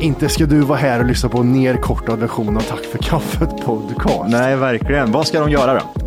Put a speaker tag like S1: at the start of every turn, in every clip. S1: inte ska du vara här och lyssna på en nerkortad version av Tack för kaffet podcast.
S2: Nej, verkligen. Vad ska de göra då?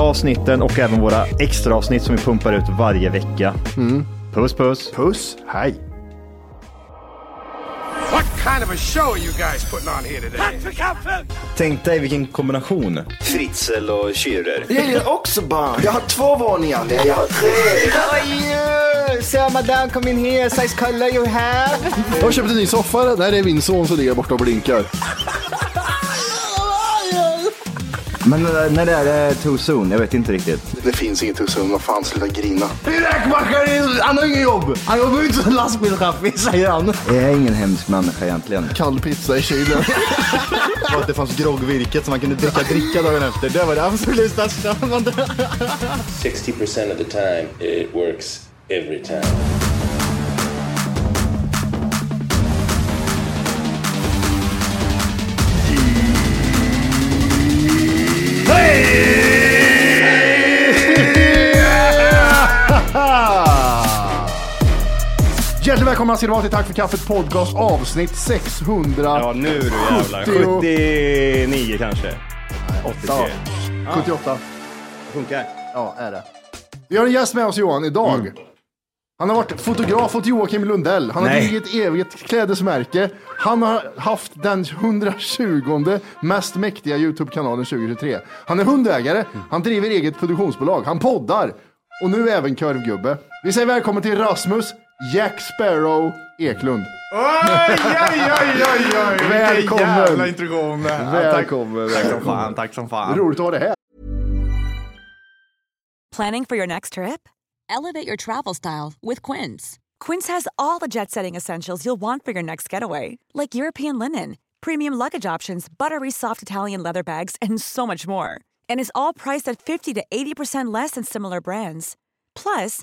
S2: avsnitten och även våra extra avsnitt som vi pumpar ut varje vecka.
S3: Mm.
S2: Puss puss!
S1: Puss, hej.
S4: What kind of a show are you guys putting on here today?
S5: Tänk dig vilken kombination. Fritzl och Schürrer. Jag gillar också barn. Jag har två varningar. Nej, jag har tre.
S2: Sir, madame, come in here, size color you have.
S1: Jag har köpt en ny soffa. Nej, det är min son som ligger borta och blinkar.
S2: Men eh, när det är eh, too soon, jag vet inte riktigt.
S6: Det finns inget hos honom. Vad fan, sluta grina.
S1: Räkmackaren, han har inget jobb. Han jobbar ju inte som lastbilschaffis, säger han.
S5: Jag är ingen hemsk människa egentligen.
S1: Kall pizza i kylen.
S2: Och att det fanns groggvirket som man kunde dricka dricka dagen efter, det var det absolut största.
S7: 60% of the time, it works every time.
S1: Hjärtligt välkomna ska ni vara till Tack för kaffet podcast avsnitt 600.
S3: Ja nu du jävlar.
S1: 70.
S3: 79 kanske. 83.
S1: Ja. 78.
S3: Funkar.
S1: Ja, är det. Vi har en gäst med oss Johan idag.
S3: Mm.
S1: Han har varit fotograf åt Joakim Lundell. Han har
S3: Nej.
S1: drivit evigt klädesmärke. Han har haft den 120 mest mäktiga Youtube-kanalen 2023. Han är hundägare.
S3: Mm.
S1: Han driver eget produktionsbolag. Han poddar. Och nu även kurvgubbe. Vi säger välkommen till Rasmus Jack Sparrow Eklund.
S3: Oj, oj, oj, oj, oj. Vilken
S1: Välkommen.
S3: jävla introduktion.
S1: Välkommen.
S3: Tack som fan, tack som fan.
S1: Roligt att ha dig här.
S8: Planning for your next trip? Elevate your travel style with Quince. Quince has all the jet setting essentials you'll want for your next getaway, like European linen, premium luggage options, buttery soft Italian leather bags, and so much more. And is all priced at 50 to 80% less than similar brands. Plus,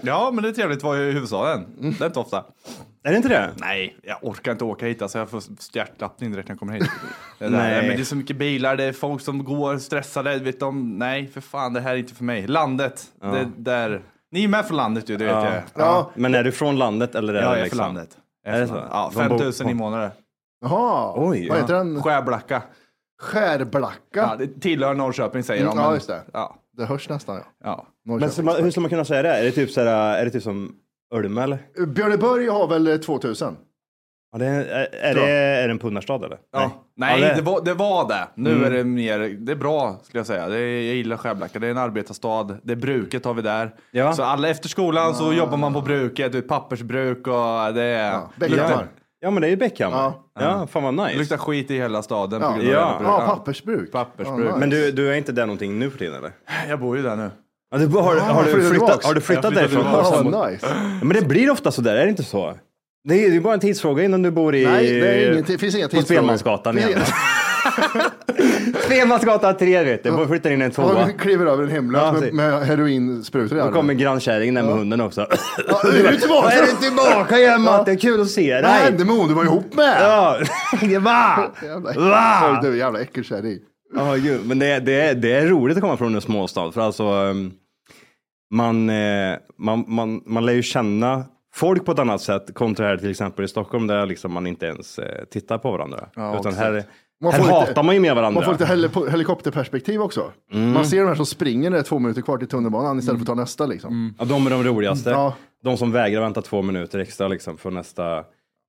S5: Ja, men det är trevligt att vara i huvudstaden. Det är inte ofta.
S3: Är det inte det?
S5: Nej, jag orkar inte åka hit alltså. Jag får hjärtklappning direkt när jag kommer hit. Det, där,
S3: Nej.
S5: men det är så mycket bilar, det är folk som går stressade. Vet de, nej, för fan, det här är inte för mig. Landet, det där. Ni är med för landet ju, det vet
S3: Ja.
S5: jag.
S1: Ja.
S3: Men är du från landet eller är
S5: Jag
S3: det
S5: är för
S3: liksom?
S5: landet. Jag
S3: Är det
S5: för
S3: så?
S5: landet. Ja,
S3: De bor
S5: 5000
S3: på-
S5: invånare.
S1: Jaha,
S3: Oj,
S1: vad
S3: ja.
S1: heter den?
S5: Skärblacka.
S1: Skärblacka.
S5: Ja, det tillhör Norrköping säger de.
S1: Mm, ja,
S5: men-
S1: just det.
S5: Ja,
S1: Det hörs nästan. Ja.
S5: ja.
S3: Men ska Alltså, man, hur ska man kunna säga det? Är det typ, så här, är det typ som Ölme eller?
S1: Björneborg har väl eh, 2000?
S3: Ja, det är, är, är, det, är det en punnarstad eller?
S5: Ja.
S3: Nej.
S5: Nej,
S3: Ja,
S5: det...
S3: det- Mm.
S5: var, det var det. Nu är det mer, det är bra skulle jag säga. Det är, jag gillar Skärblacka, det är en arbetarstad. Det är bruket har vi där.
S3: Ja.
S5: Så alla efter skolan så jobbar man på bruket, du vet, pappersbruk och det är...
S1: Ah. Ja,
S5: det
S1: Bäckhammar.
S5: luktar,
S3: Ja, men det är ju Bäckhammar.
S1: Ja.
S3: Ja. fan vad
S5: det
S3: nice.
S5: luktar skit i hela staden
S1: Ja.
S5: på grund av
S3: Ja.
S5: det bruket.
S1: Ja, pappersbruk.
S5: Pappersbruk.
S1: Ja,
S3: Men
S1: nice.
S3: du, du är inte där någonting nu för tiden eller?
S5: Jag bor ju där nu.
S3: Ja, du, har, har,
S1: flyttar
S3: du
S1: tillbaks.
S3: flyttat, har du flyttat
S5: Jag flyttar
S3: därifrån?
S5: tillbaks.
S3: första
S1: Ja,
S3: mot-
S1: nice.
S3: Ja, men det blir ofta så där, är det inte så? Det är ju bara en tidsfråga innan du bor i...
S1: Nej, det är ingen, det finns inga
S3: På
S1: tidsfrågor.
S3: Spelmansgatan igen.
S1: Finns-
S3: Spelmansgatan 3 vet du, bara flyttar in en
S1: Ja,
S3: tvåa.
S1: vi kliver över en hemlös
S3: Ja,
S1: med,
S3: precis.
S1: med heroinsprutor i
S3: Då kommer
S1: armen.
S3: grannkärringen där med hunden också.
S1: Ja, är du tillbaka?
S3: Är du tillbaka igen Matte? Kul att se
S1: Vad hände
S3: dig!
S1: med hon du var ihop med?
S3: Ja, va?
S1: Jävla äckel-
S3: Va?
S1: Du jävla äckelkärring.
S3: Ja, gud. Men det, är- det, är, det är roligt att komma från en småstad, för alltså ehm, man, eh, man, man, man lär ju känna folk på ett annat sätt kontra här till exempel i Stockholm där liksom man inte ens eh, tittar på varandra. Utan här,
S1: Man
S3: här
S1: får lite-
S3: hatar man ju med varandra.
S1: Man får lite heli- helikopterperspektiv också.
S3: Mm.
S1: Man ser de här som springer när det är två minuter kvar till tunnelbanan istället för att ta nästa. Liksom.
S3: Ja, de är de roligaste.
S1: Ja.
S3: De som vägrar vänta två minuter extra liksom, för nästa,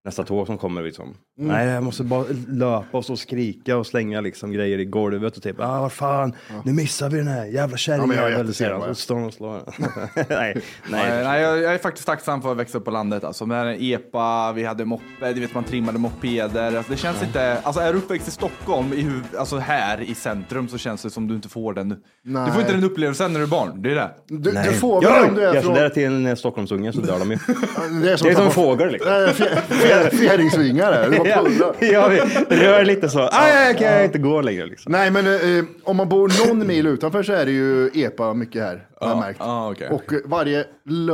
S3: nästa tåg som kommer. Liksom.
S1: Mm.
S3: Nej, jag måste bara löpa och så skrika och slänga liksom, grejer i golvet och typ, ah, vad fan, nu missar vi den här jävla
S1: Ja, men jag är
S3: kärringen.
S1: jättesen
S3: Ja,
S1: på det.
S3: så står de och slår. nej,
S5: Nej,
S3: nej.
S5: Eh, nej, jag, jag är faktiskt tacksam för att växa upp på landet. Alltså, med den epa, vi hade moppe, du vet man trimmade mopeder. Alltså, det känns inte, alltså är du uppväxt i Stockholm, i, huv- alltså här i centrum, så känns det som du inte får den. Du får
S1: Nej. Mm.
S5: inte den upplevelsen när du är barn. Det är det.
S1: Du, du får
S3: Gör
S1: väl
S3: de?
S1: om du är
S3: Gör
S1: från...
S3: sådär till en eh, Stockholmsunge så dör de ju.
S1: Det är
S3: Det är som
S1: att
S3: en
S1: tappa-
S3: fågel liksom.
S1: Nej, fjär- fjär- Fjäringsvingare. Det var
S3: Ja,
S1: pullar.
S3: ja, vi rör lite så. Ah, ja, jag kan inte gå längre liksom.
S1: Nej, men eh, eh, om man bor någon mil utanför så är det ju epa mycket här. Har jag märkt.
S5: ja, Ah, okej.
S1: Och eh, varje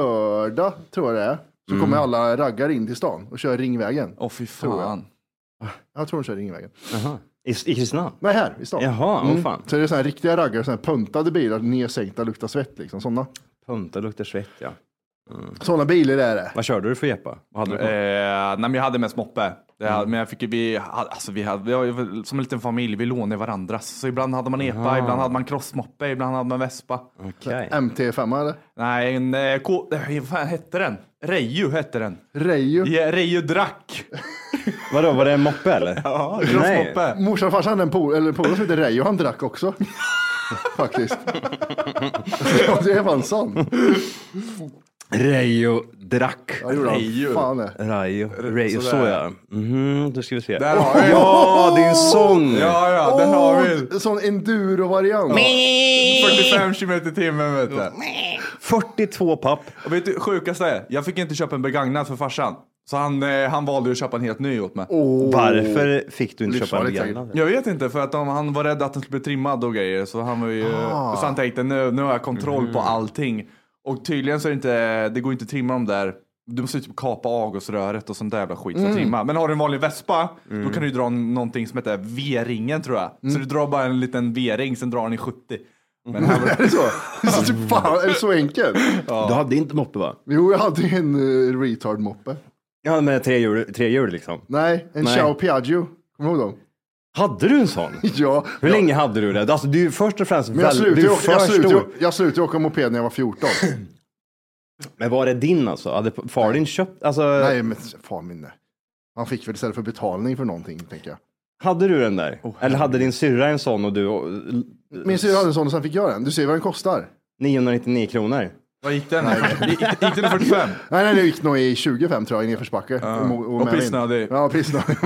S1: lördag, tror jag det är, så
S3: Mm.
S1: kommer alla raggar in till stan och kör Ringvägen.
S5: Åh fy fan.
S1: Jag tror de kör Ringvägen.
S3: I, I Kristinehamn?
S1: Nej, här i stan. Mm.
S3: Jaha, åh fan.
S1: Så det är sådana här riktiga raggare, sådana här puntade bilar, nedsänkta, luktar svett liksom. Sådana
S3: Punta luktar svett ja.
S1: såna bilar är det.
S3: Vad körde du för epa? Vad hade du?
S5: Eh, nej, men jag hade mest moppe. Det hade, Men jag fick, ju- vi, hade, alltså, vi hade, vi var ju som en liten familj, vi lånade varandras. Så ibland hade man epa, ibland hade man crossmoppe, ibland hade man vespa.
S3: Okej.
S1: MT5 eller?
S5: Nej, en, eh, K, eh, vad fan hette den? Reju hette den.
S1: Reju.
S5: Ja, Reju drack.
S3: Vadå, var det en moppe eller?
S5: Ja,
S3: Nej.
S5: crossmoppe.
S1: Morsan och farsan hade en pol- eller en polare som hette Rejo, han drack också. Faktiskt. ja, det är fan sant.
S3: Rejo drack.
S1: Ja, det gjorde han.
S5: Rejo.
S1: Fan eh. det.
S3: Rajo, Rejo, så
S5: Sådär.
S3: ja. Mhm, då ska vi se.
S5: Där har vi.
S3: Ja, din sång!
S5: Ja, ja, där har vi.
S1: Åh, Sån enduro-variant.
S5: 45 kilometer i timmen vet du.
S3: 42 papp.
S5: Och vet du, sjukaste är, jag fick inte köpa en begagnad för farsan. Så han, eh, han valde ju att köpa en helt ny åt mig.
S3: Varför fick du inte köpa en
S1: Livsfarligt säkert.
S3: begagnad?
S5: Jag vet inte, för att de, han var rädd att den skulle bli trimmad och grejer. Så han var ju, så han tänkte nu, nu har jag kontroll på allting. Och tydligen så är det inte, det går inte att trimma dem där. Du måste ju typ kapa avgasröret och sånt där jävla skit för att trimma. Men har du en vanlig Vespa, då kan du ju dra någonting som heter V-ringen tror jag. Så du drar bara en liten V-ring, sen drar den i 70. Men här var,
S1: Är det så? Det är så typ, fan, är det så enkelt?
S3: Du hade inte moppe va?
S1: Jo, jag hade ju en eh, retard-moppe.
S3: Ja, med tre hjul, tre hjul liksom.
S1: Nej, en
S3: Nej.
S1: Ciao Piaggio. Kommer du ihåg dem?
S3: Hade du en sån?
S1: Ja.
S3: Hur länge hade du det? Alltså, du är ju först och främst
S1: Men jag
S3: väl,
S1: slutade,
S3: du är
S1: ju åka, jag,
S3: för
S1: slutade,
S3: stor.
S1: ju- jag slutade ju åka moped när jag var 14.
S3: Men var det din alltså? Hade far din köpt? Alltså,
S1: Nej, men fan minne. Han fick väl istället för betalning för någonting, tänker jag.
S3: hade du den där? Eller hade din syrra en sån och du... och-
S1: Min syrra hade en sån och sen fick jag den. Du ser vad den kostar.
S3: 999 kronor?
S5: vad gick den? Gick, gick den i 45?
S1: Nej, nej, det gick nog i 25 tror jag, i nedförsbacke. Och, och, med vind.
S5: pissnödig.
S1: Ja, pissnödig.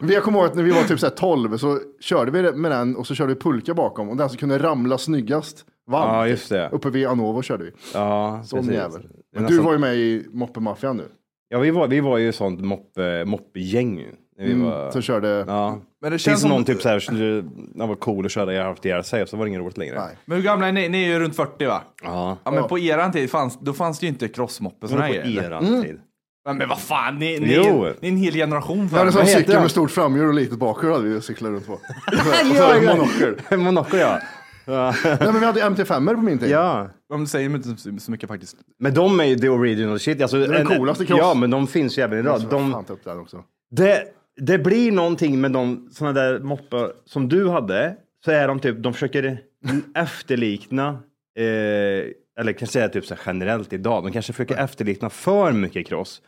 S1: Men jag kommer ihåg att när vi var typ så här 12 så körde vi med den och så körde vi pulka bakom och den som kunde ramla snyggast vann.
S3: Ja, just det.
S1: Uppe vid Anovo körde vi.
S3: Ja,
S1: Sån
S3: precis.
S1: jävel.
S3: Det är
S1: Men du
S3: nästan-
S1: var ju med i moppemaffian nu,
S3: Ja, vi var, vi var ju sånt moppe, moppegäng. ju, När vi var,
S1: Mm, som körde...
S3: ja.
S5: Men det
S3: Tills
S1: alltså-
S5: känns som-
S3: någon typ så här, skulle- han var cool och körde halvt ihjäl sig och så var det inget roligt längre.
S1: Nej.
S5: Men hur gamla är ni? Ni är ju runt 40 va?
S3: Ja.
S5: Ja, men på eran tid fanns, då fanns det ju inte crossmoppe
S3: Det
S5: såna
S3: var
S5: här
S3: på
S5: grejer.
S3: eran
S1: Mm.
S3: tid.
S5: Ja, Men vad fan, ni, ni,
S3: Jo.
S5: ni är en hel generation
S1: Vi hade en
S5: för
S1: sån
S5: mig.
S3: heter
S1: cykel
S3: han?
S1: med stort framhjul och litet bakhjul hade vi cyklat runt på. Och så hade vi monokel.
S3: Monaco ja.
S1: Nej, men vi hade MT5 på min tid.
S3: ja.
S5: De säger mig inte så- så mycket faktiskt.
S3: Men de är ju the original shit. Alltså,
S1: är den
S3: en-
S1: coolaste cross.
S3: Ja, men de finns ju även idag.
S1: Så
S3: De,
S1: Alltså, Fan, ta upp den också.
S3: det, det blir någonting med de såna där moppar som du hade. Så är de typ, de försöker efterlikna, eh, eller kan säga typ så här generellt idag, de kanske försöker efterlikna för mycket cross.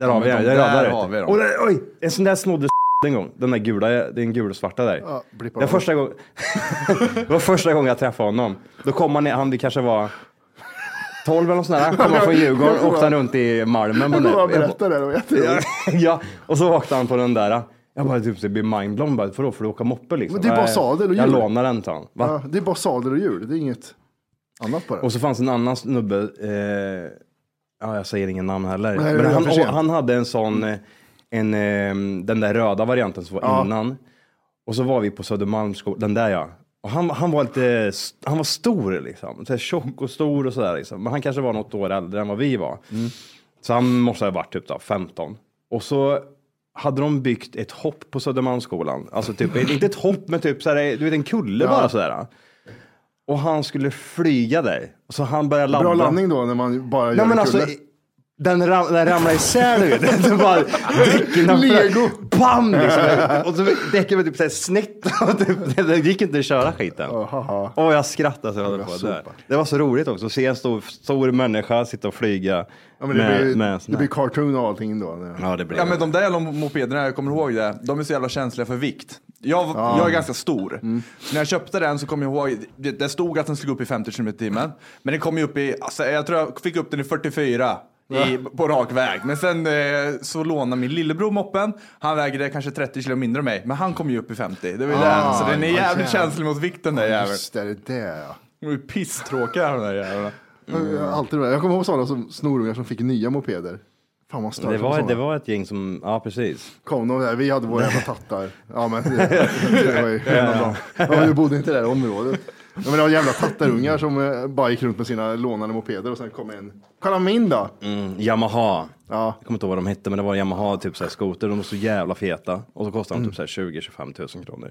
S3: Där har vi
S5: men
S3: den.
S5: de
S3: Där,
S5: där
S3: där
S5: har vi dem.
S3: Och där, oj, en sån där snodde en gång. Den där gula, den gulsvarta där.
S1: Ja, blippa
S3: det, var
S1: honom.
S3: första gång, det var första gången jag träffade honom. Då kom han, ner- han vi kanske var 12 eller något sånt där. Han kom han från Djurgården och åkte han runt i Malmen. på
S1: Jag
S3: den-
S1: kommer bara berätta det, det var
S3: Ja,
S1: jätteroligt.
S3: ja, och så åkte han på den där. Jag bara typ så blir mindblown. Bara, Vadå, får du åka moppe liksom?
S1: Men det är bara
S3: Nej,
S1: sadel och
S3: Jag
S1: hjul.
S3: lånar den till honom. Va?
S1: Ja, det är bara sadel och hjul, det är inget annat på det.
S3: Och så fanns en annan snubbe. Eh, ja, jag säger ingen namn heller.
S1: Nej, det
S3: men
S1: är
S3: han,
S1: för sent. Mm.
S3: han hade en sån, eh, en, eh, den där röda varianten som var innan. Och så var vi på Södermalmsskolan, den där ja. Och han, han var lite, st- han var stor liksom. Så här tjock och stor och sådär liksom. Men han kanske var något år äldre än vad vi var.
S1: Mm.
S3: Så han måste ha varit typ då, 15. Och så hade de byggt ett hopp på Södermalmsskolan. Alltså typ, inte ett hopp men typ såhär, du vet en kulle bara sådär. Och han skulle flyga där. Så han började ladda.
S1: Bra landning då när man bara
S3: Nej
S1: gör
S3: men
S1: en
S3: alltså,
S1: kulle.
S3: Den, ram, den ramlade isär nu. Den, den bara, däcken har-
S1: Lego.
S3: Bam! Liksom. Och så däcken var typ såhär snett. Och typ, det gick inte att köra skiten.
S1: Haha.
S3: Åh, jag skrattade så jag höll
S1: Jag
S3: på
S1: sopar.
S3: där. Det var så roligt också att se en stor, stor människa sitta och flyga.
S1: Ja, men det,
S3: med,
S1: blir,
S3: med en sån
S1: det
S3: här-
S1: blir cartoon och allting då.
S3: Ja, det blir
S5: Ja men de där jävla mopederna, jag kommer ihåg det, de är så jävla känsliga för vikt. Jag, jag är ganska stor. Så när jag köpte den så kommer jag ihåg, det, det stod att den skulle gå upp i 50 km i timmen. Men den kom ju upp i, alltså, jag tror jag fick upp den i 44 i, på rak väg. Men sen eh, så lånade min lillebror moppen, han vägde kanske 30 kilo mindre än mig. Men han kom ju upp i 50, det var ju det. Så den är
S1: ja,
S5: jävligt
S1: jävlar.
S5: känslig mot vikten den
S1: Ja,
S5: jäveln.
S1: just det, det är det ja.
S5: De är ju pisstråkiga de där jävlarna.
S1: Jag-
S3: Mm.
S1: jag har Alltid det där. Jag kommer ihåg sådana som snorungar som fick nya mopeder. Fan vad stört
S3: det,
S1: det
S3: var, det var ett gäng som, ja precis.
S1: Kom de där, vi hade våra jävla tattar. Ja men det, det var ju jävla bra. Ja, vi bodde inte i det här området. Ja, men det var jävla tattarungar som eh, bara gick runt med sina lånade mopeder och sen kom en. Kolla min då!
S3: Mm, Yamaha.
S1: Ja.
S3: Jag kommer inte ihåg vad de hette, men det var Yamaha, typ såhär skoter. De var så jävla feta. Och så kostade
S2: Mm.
S3: de typ såhär 20-25 tusen kronor.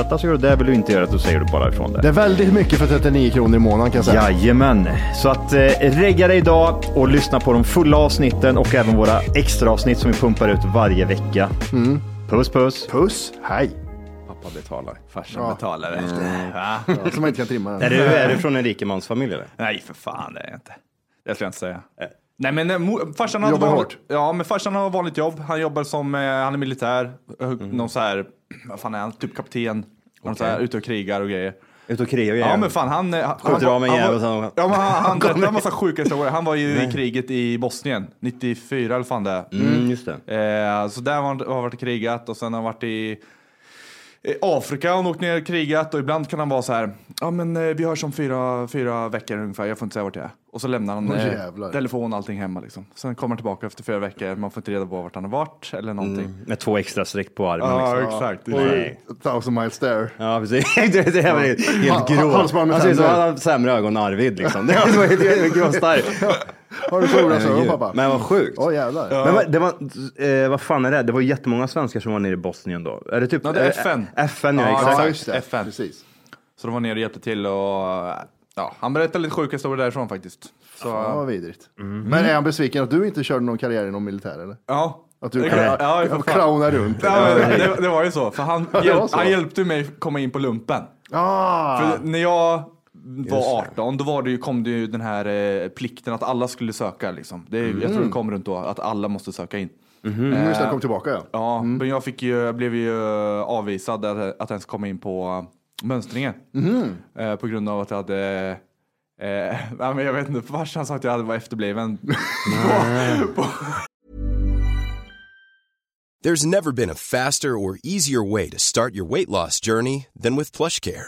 S2: så gör du det. Vill du inte göra det så säger du bara ifrån det.
S1: Det är väldigt mycket för 39 kronor i månaden kan jag säga.
S2: Jajamän, så att eh, regga dig idag och lyssna på de fulla avsnitten och även våra extra avsnitt som vi pumpar ut varje vecka. Puss puss!
S1: Mm. Puss, hej!
S3: Pappa betalar.
S5: Farsan betalar efter.
S1: Som man inte kan trimma den.
S3: Är du, är du från en rikemansfamilj eller?
S5: Nej, för fan, det är jag inte. Det skulle jag inte säga. Nej, men eh, mo- farsan hade
S1: Jobbar
S5: vanligt,
S1: hårt.
S5: Ja, men farsan har vanligt jobb. Han jobbar som, eh, han är militär, eh,
S3: Mm.
S5: någon så här, vad fan är han, typ kapten. Okay. Så här, ute och krigar och grejer.
S3: Ut och krigar
S5: Ja, men fan han... eh, han-
S3: Skjuter
S5: han-
S3: av med en
S5: han
S3: jävel
S5: var-
S3: sen-
S5: Ja, men han, han berättade en massa sjuka historier. Han var ju i kriget i Bosnien, 94 eller fan det är.
S3: Mm, just det.
S5: Eh, så där har han har han varit och krigat och sen har han varit i i Afrika har han åkt ner och krigat och ibland kan han vara så här. Ja men eh, vi hörs om fyra, fyra veckor ungefär, jag får inte säga vart jag är. Och så lämnar han
S1: Åh,
S5: eh,
S1: jävlar.
S5: telefon och allting hemma liksom. Sen kommer han tillbaka efter fyra veckor, man får inte reda på vart han har varit eller någonting.
S1: Mm.
S3: Med två extra streck på armen.
S5: Ja
S3: liksom.
S5: exakt.
S3: Nej.
S1: A thousand miles there.
S3: Ja, precis. Det är- det är väl helt
S1: Ha-
S3: grå. Alltså,
S1: ha- halsband med
S3: Han ser ut som
S1: tänder.
S3: han har sämre ögon än Arvid liksom. Det är så helt- helt gråstarr.
S1: Har du solglasögon pappa?
S3: Men vad sjukt.
S1: Åh jävlar.
S3: Men vad, det var, eh, vad fan är det? Det var jättemånga svenskar som var nere i Bosnien då. Är det typ?
S5: Ja, det är
S3: eh,
S5: FN.
S3: FN, ja,
S5: Ja,
S3: exakt.
S1: Ja, just det.
S5: FN.
S1: Precis.
S5: Så de var nere och hjälpte till och ja, han berättade lite sjuka historier därifrån faktiskt. Så,
S1: Ja, vad vidrigt. Men är han besviken att du inte körde någon karriär inom militär eller?
S5: ja.
S1: Att du
S5: Det-
S1: cla-
S5: ja, för fan.
S1: clownar runt?
S5: Ja, men det, det var ju så, för han,
S1: det var
S5: hjälp,
S1: så.
S5: han hjälpte mig komma in på lumpen.
S1: Ah,
S5: För när jag var 18, då var det ju, kom det ju den här eh, plikten att alla skulle söka. Liksom. Det, är- Jag tror det kom runt då, att alla måste söka in.
S1: mm, just det, kom tillbaka ja.
S5: Ja, Mm. men jag, fick ju, jag blev ju eh, avvisad att, att ens komma in på mönstringen. Eh, på grund av att jag hade Eh, nej, men jag vet inte, farsan sa att jag hade varit efterbliven.
S9: There's never been a faster or easier way to start your weight loss journey than with PlushCare.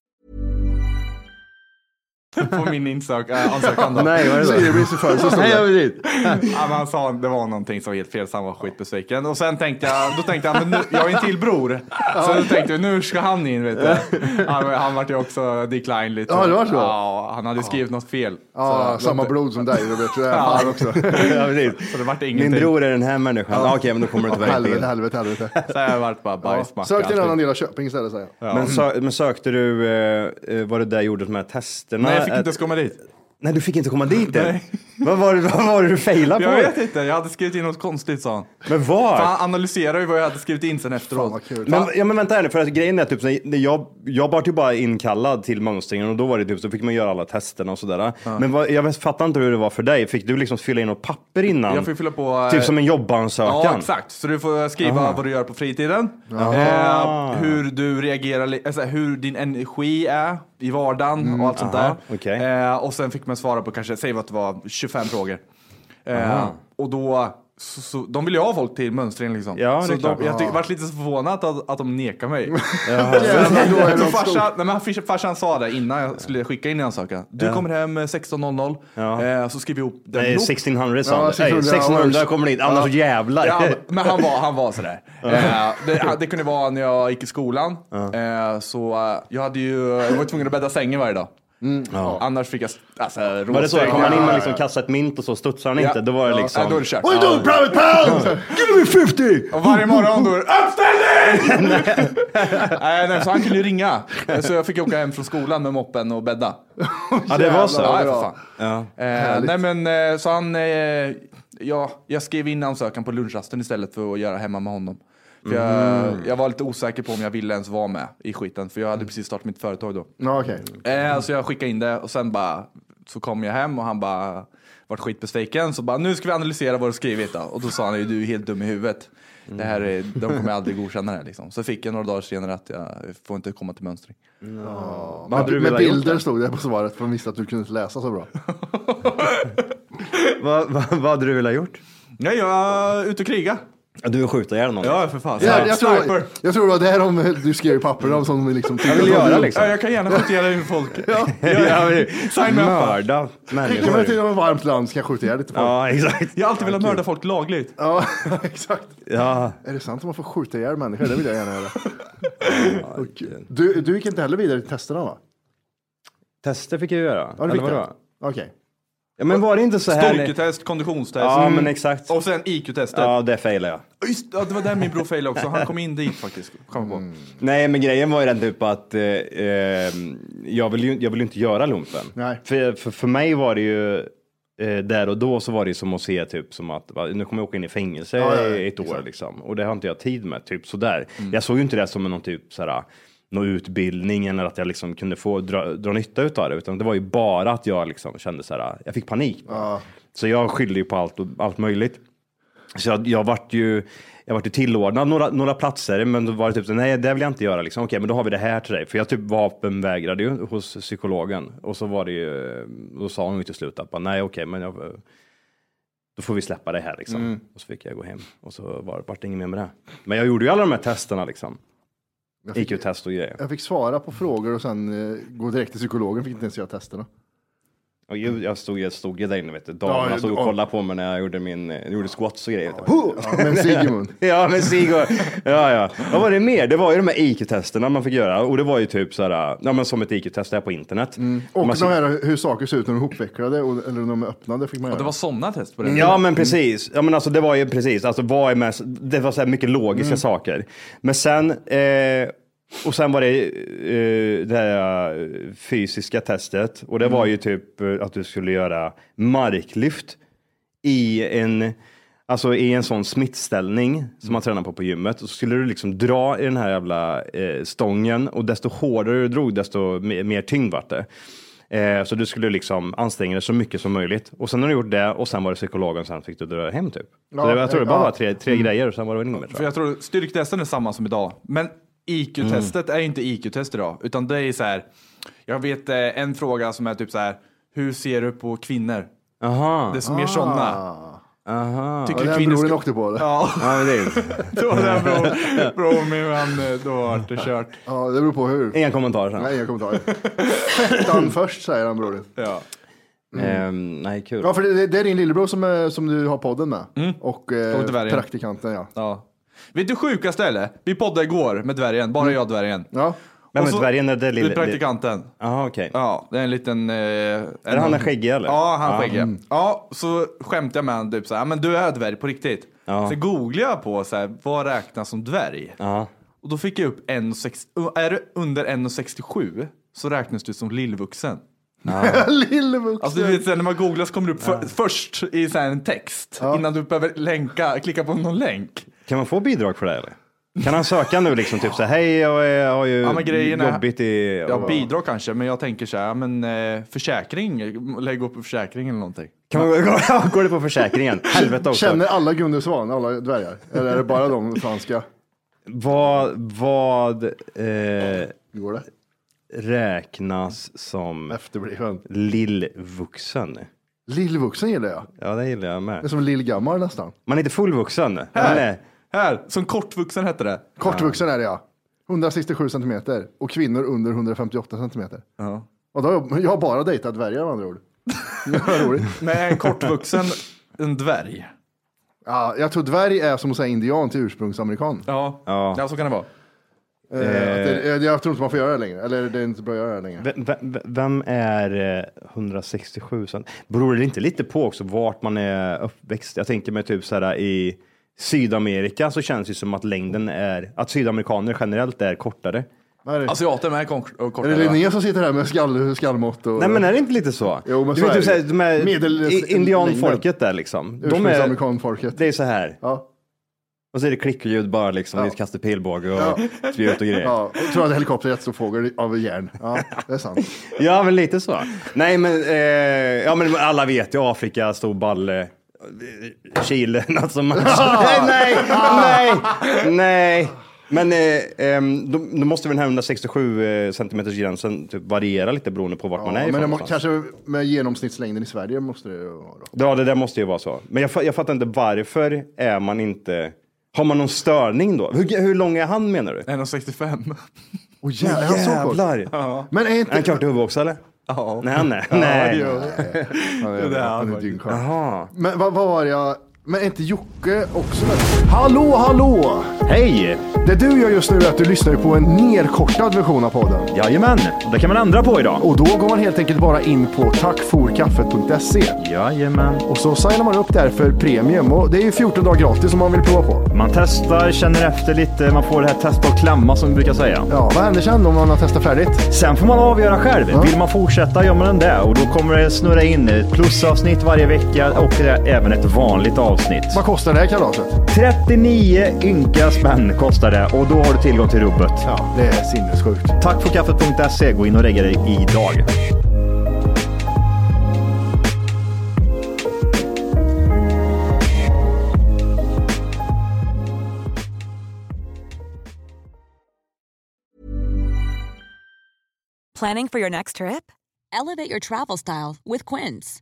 S5: på min insök, äh, ansökan då.
S3: Nej, vad är
S1: Så
S3: det
S1: är det så för, så står
S3: Nej,
S1: det.
S3: jag vet inte.
S5: Ja, men han sa det var någonting som var helt fel, så han var skitbesviken. Och sen tänkte jag, då tänkte jag, men nu, jag har ju en till bror. Så då tänkte vi, nu ska han in vet du. Han, han vart ju också decline lite.
S1: Ja, det var så?
S5: Ja, han hade skrivit något fel.
S1: Ja, samma blod som dig Robert, så är jag fan också.
S3: Ja, precis.
S5: Så det vart ingenting.
S3: Min bror är den här människan. Ja. Okej, men då kommer du inte vara
S1: Helvete,
S3: helt
S1: helvete, helvete.
S5: Så jag vart bara bajsmacka.
S1: Sök till en annan
S5: Alltid.
S1: del av Köping istället säger jag.
S3: men, sö- men sökte du, eh, eh, var det där jag gjorde de här testerna?
S5: Nej, jag fick
S3: Att-
S5: inte ens komma dit.
S3: Nej, du fick inte komma dit än.
S5: Nej.
S3: Vad var, det- vad var det du failade
S5: Jag
S3: på?
S5: vet inte, jag hade skrivit in något konstigt sa han.
S3: Men var?
S5: För han analyserade ju vad jag hade skrivit in sen efteråt.
S1: vad kul.
S3: Men, ja, men vänta här nu, för att grejen är typ, så när jag, jag var ju bara inkallad till mönstringen och då var det typ så fick man göra alla testerna och sådär. Men vad, jag fattar inte hur det var för dig, fick du liksom fylla in något papper innan?
S5: Jag fick fylla på... eh,
S3: Typ som en jobbansökan?
S5: Ja, exakt. Så du får skriva
S3: Aha.
S5: vad du gör på fritiden.
S3: Aha.
S5: Eh, hur du reagerar, li- alltså, hur din energi är i vardagen och allt sånt
S3: Mm. aha,
S5: där.
S3: okej.
S5: Eh, och sen fick man svara på kanske, säg att det var 25 frågor. Eh, och då, så, så, de vill ju ha folk till mönstringen liksom.
S3: Ja, det är
S5: så de,
S3: klart.
S5: jag tyck, vart lite så förvånad att, att de nekar mig.
S1: Jävlar, då är
S5: Så
S1: de stor.
S5: farsan, nej, men han- farsan sa det innan jag skulle skicka in en ansökan. Du kommer hem eh, 16.00
S3: Ja.
S5: eh, så skriver vi ihop den
S3: Nej,
S5: ihop.
S3: 1600 sa han.
S1: Ja,
S3: Nej,
S1: 1600
S3: 1600 kommer dit, annars jävlar.
S5: Ja, han- men han var, han var sådär. Eh, det, han- det kunde vara när jag gick i skolan. Eh, så eh, jag, hade ju, jag var tvungen att bädda sängen varje dag. Annars fick jag alltså,
S3: Var Mm. det så?
S5: råstänk.
S3: Kom han in
S5: Ja,
S3: och
S5: ja,
S3: liksom
S5: ja.
S3: kastade ett mynt och så studsade han inte?
S5: Ja.
S3: Då var det
S5: Ja, då
S3: liksom...
S5: är det kört.
S1: What you doing private pal? Give me 50!
S5: Och varje morgon då, uppställning! nej, nej, så han kunde ju ringa. Eh, Så jag fick åka hem från skolan med moppen och bädda.
S3: Ja, det var så?
S1: Jävlar,
S5: Ja,
S1: bra.
S5: för fan.
S3: Ja.
S5: Eh, nej men eh, så han, eh, ja, jag skrev in ansökan på lunchrasten istället för att göra hemma med honom. För
S1: Mm.
S5: jag, jag var lite osäker på om jag ville ens vara med i skiten, för jag hade precis startat mitt företag då.
S1: Ja, okej.
S5: Eh, så jag skickade in det och sen bara, så kom jag hem och han bara vart skitbesviken. Så bara, nu ska vi analysera vad du skrivit då. Och då sa han ju, du är helt dum i huvudet. Det här är, de kommer aldrig godkänna det här liksom. Så fick jag några dagar senare att jag får inte komma till mönstring.
S1: Med,
S3: hade du
S1: med
S3: velat gjort
S1: bilder stod det på svaret för de visste att du kunde inte läsa så bra.
S3: Vad, vad, vad hade du velat gjort?
S5: Nej, jag är ute och kriga.
S3: Ja, Du vill skjuta ihjäl någon?
S5: Ja, för fan.
S1: Jag, jag, tror,
S5: Sniper.
S1: jag tror det var det här de, du skrev i papperna om som de liksom tyckte.
S3: vill
S1: att
S3: göra
S1: du-
S3: liksom.
S5: Ja, jag kan gärna skjuta ihjäl en folk.
S3: Ja, men-
S5: Sign me up.
S3: Mörda
S1: Skicka mig till
S3: människor.
S1: något varmt land så kan jag skjuta ihjäl lite folk.
S3: Ja, exakt.
S5: Jag har alltid velat mörda folk lagligt.
S1: Ja, exakt.
S3: Ja.
S1: Är det sant att man får skjuta ihjäl människor? Det vill jag gärna göra. Åh, gud. du, du gick inte heller vidare till testerna va?
S3: Tester fick jag ju göra.
S1: Ja, du
S3: Eller
S1: fick
S3: vadå?
S1: det. Okej.
S3: Ja, men var det inte så här?
S5: Styrketest, konditionstest.
S3: Ja, men exakt.
S5: Och sen IQ-testet.
S3: Ja, det failade jag.
S5: Just, ja, det var där min bror failade också. Han kom in dit faktiskt. Kom på.
S3: Mm. Nej, men grejen var ju den typ att eh, eh, jag ville ju jag vill ju inte göra lumpen.
S1: Nej.
S3: För, för, för mig var det ju, eh, där och då så var det ju som att se typ som att va, nu kommer jag åka in i fängelse
S1: Ja, ja, Mm. ja,
S3: i ett år liksom. Och det har inte jag tid med, typ sådär. Jag såg ju inte det som någon typ såhär, någon utbildning eller att jag liksom kunde få dra, dra nytta utav det, utan det var ju bara att jag liksom kände såhär, jag fick panik. Så jag skyllde ju på allt, och, allt möjligt. Så jag, jag vart ju, jag vart ju tillordnad några, några platser, men då var det typ så, nej det vill jag inte göra liksom. Okej, men då har vi det här till dig. För jag typ vapenvägrade ju hos psykologen. Och så var det ju, då sa hon ju till slut att bara, nej okej, men jag, då får vi släppa det här liksom.
S1: Mm.
S3: Och så fick jag gå hem och så var, vart det inget mer med det. Men jag gjorde ju alla de här testerna liksom. IQ-test och grejer.
S1: Jag fick svara på frågor och sen eh, gå direkt till psykologen. Fick inte ens göra testerna.
S3: Och jag, jag, stod, jag stod ju där inne vet du,
S1: Ja,
S3: damerna stod och
S1: ja.
S3: kollade på mig när jag gjorde min, jag gjorde squats och grejer.
S1: Ja, men Sigmund.
S3: Ja, men Sigurd. Ja, ja. Vad var det mer? Det var ju de här IQ-testerna man fick göra och det var ju typ så här, ja men som ett IQ-test där på internet.
S1: Och
S3: Man-
S1: de här hur saker ser ut när de är hopvecklade och, eller när de är öppnade fick man
S5: Ja,
S1: göra.
S5: det var sådana test på det.
S3: Mm. Ja men precis. Ja men alltså det var ju precis, alltså vad är mest, det var så här mycket logiska saker. Men sen, eh, och sen var det eh, det här eh, fysiska testet och det var ju typ eh, att du skulle göra marklyft i en, alltså i en sån smittställning
S5: Mm.
S3: som man tränar på på gymmet. Och så skulle du liksom dra i den här jävla eh, stången och desto hårdare du drog desto me- mer tyngd vart det. Eh, så du skulle liksom anstränga dig så mycket som möjligt. Och sen har du gjort det och sen var det psykologen sen fick du dra hem typ.
S1: Ja,
S3: så det, var- jag tror det bara
S1: ja.
S3: var tre, tre grejer och sen var det väl inget mer.
S5: Mm. För
S3: tror jag.
S5: jag tror styrktesten är samma som idag. Men IQ-testet
S3: Mm.
S5: är ju inte IQ-test idag. Utan det är så här. Jag vet eh, en fråga som är typ så här. Hur ser du på kvinnor?
S3: Aha,
S5: Det är mer
S3: Ah.
S5: sådana.
S3: aha.
S5: Tycker
S1: Och
S5: du
S1: den
S5: kvinnor
S1: broren
S5: ska...
S1: åkte på det. Ja.
S5: Ja,
S3: Ja, men det är
S5: det var den bror, bror min, han, eh, då vart det kört.
S1: det beror på hur.
S3: Inga kommentarer
S5: Mm.
S3: sen.
S1: Nej, inga kommentarer. Fettan först säger han broder.
S5: Ja.
S3: Ehm, nej kul.
S1: Ja, för det, det är din lillebror som, eh, som du har podden med. Och
S5: Kommer Mm. till
S1: eh,
S5: värjan.
S1: praktikanten, ja.
S5: Ja. Vet du sjukaste eller? Vi poddade igår med dvärgen, bara jag och dvärgen.
S1: Ja.
S3: Vem är Mm. dvärgen? Är det lille-
S5: lille... Praktikanten.
S10: Jaha, okej.
S5: Ja, det är en liten... Eh, är
S10: det han med skägg, eller?
S5: Ja, han
S10: Ja. Mm.
S5: skäggig. Ja, så skämtade jag med honom typ så här, "Ja, men du är dvärg på riktigt.
S10: Ja.
S5: Så googlade jag på så här, vad räknas som dvärg?
S10: Ja.
S5: Och då fick jag upp 1,60 är du under 1,67 så räknas du som lillvuxen.
S1: Lillvuxen.
S5: Alltså du vet, så här, när man googlar så kommer det upp för, först i så här, en text innan du behöver länka, klicka på någon länk.
S3: Kan man få bidrag för det eller? Kan han söka nu liksom typ så här, hej jag är- har ju
S5: Ja, men grejen är-
S3: jobbigt i...
S5: Ja, bidrag kanske, men jag tänker så här, ja, men eh, försäkring, lägg upp försäkring eller någonting.
S3: Kan man, går, går det på försäkringen? Helvete också.
S1: Känner alla Gunde Svan, alla dvärgar? Eller är det bara de franska?
S3: Vad, vad eh,
S1: Hur går det?
S3: räknas som
S1: Efterbliven.
S3: lillvuxen?
S1: Lillvuxen gillar jag.
S3: Ja, det gillar jag
S1: Det är
S3: med.
S1: som lillgammal nästan.
S3: Man är inte fullvuxen. Man är,
S5: Här, som kortvuxen hette det.
S1: Kortvuxen är det ja. 167 centimeter och kvinnor under 158 centimeter.
S5: Ja.
S1: Och då har jag, jag har bara dejtat dvärgar med andra ord. Vad roligt.
S5: Men är en kortvuxen en dvärg?
S1: Ja, jag tror dvärg är som att säga indian till ursprungsamerikan.
S5: Ja. ja, så kan det vara.
S1: Eh, att det, eh, jag tror inte man får göra det längre. Eller det är inte bra att göra det längre.
S3: Ve- ve- vem är eh, 167 sen? Beror det inte lite på också vart man är uppväxt? Jag tänker mig typ så här i Sydamerika så känns det som att längden är, att sydamerikaner generellt är kortare.
S1: Vad är det?
S5: Asiater med kort,
S1: är
S5: kortare.
S1: det
S5: va?
S1: Linné som sitter här med skall, skallmått? Och,
S3: Nej men eh, är det inte lite så?
S1: Jo, men
S3: du
S1: så
S3: vet
S1: är
S3: typ så här,
S1: det.
S3: de här
S1: Medel-
S3: i- indianfolket där liksom. De är,
S1: Ursprungsamerikanfolket.
S3: det är så här.
S1: Ja.
S3: Och så är det klickljud bara liksom, vi kastar pilbåge och spjut och grejer. Ja.
S1: Ja, jag tror att helikopter är jättestor av järn. Ja, det är sant.
S3: men lite så. Nej men, eh, ja men alla vet ju Afrika, stor balle. eh, Chile, alltså man... nej, nej, nej, nej. Men eh, ehm, då, då måste väl den här 167 eh, centimeters gränsen typ variera lite beroende på vart man är
S1: Ja, men
S3: ifrån
S1: det må,
S3: någonstans.
S1: kanske med genomsnittslängden i Sverige måste det ju vara då.
S3: Ja, det där måste ju vara så. Men jag, fa- jag fattar inte varför är man inte... Har man någon störning då? Hur, hur lång är han menar du?
S5: 1,65.
S1: Oh, jävlar, han såg kort.
S3: Ja.
S1: Men är
S3: Är han
S1: inte...
S3: klart i huvudet också eller?
S5: Ja.
S3: Nej, han är. Nej.
S1: Han är-
S5: det är
S1: han är
S5: han
S1: dyngskör.
S3: Jaha.
S1: Men vad vad var jag... Men är inte Jocke också där? Hallå, hallå!
S3: Hej!
S1: Det du gör just nu är att du lyssnar på en nerkortad version av podden.
S3: Jajamän, det kan man ändra på idag.
S1: Och då går man helt enkelt bara in på tackforkaffet.se
S3: Jajamän.
S1: och så signar man upp där för premium. Och det är ju 14 dagar gratis om man vill prova på.
S3: Man testar, känner efter lite, man får det här testa och klämma som vi brukar säga.
S1: Ja, vad händer sen om man har testat färdigt?
S3: Sen får man avgöra själv. Vill man fortsätta gör man den där och då kommer det snurra in ett plusavsnitt varje vecka och det är även ett vanligt avsnitt.
S1: Vad kostar det här kalaset?
S3: 39 ynka spänn kostar det och då har du tillgång till rubbet.
S1: Ja, det är sinnessjukt.
S3: Tack för kaffet.se. E. Gå in och lägg dig idag.
S8: Planning for your next trip? Elevate your travel style with Quince.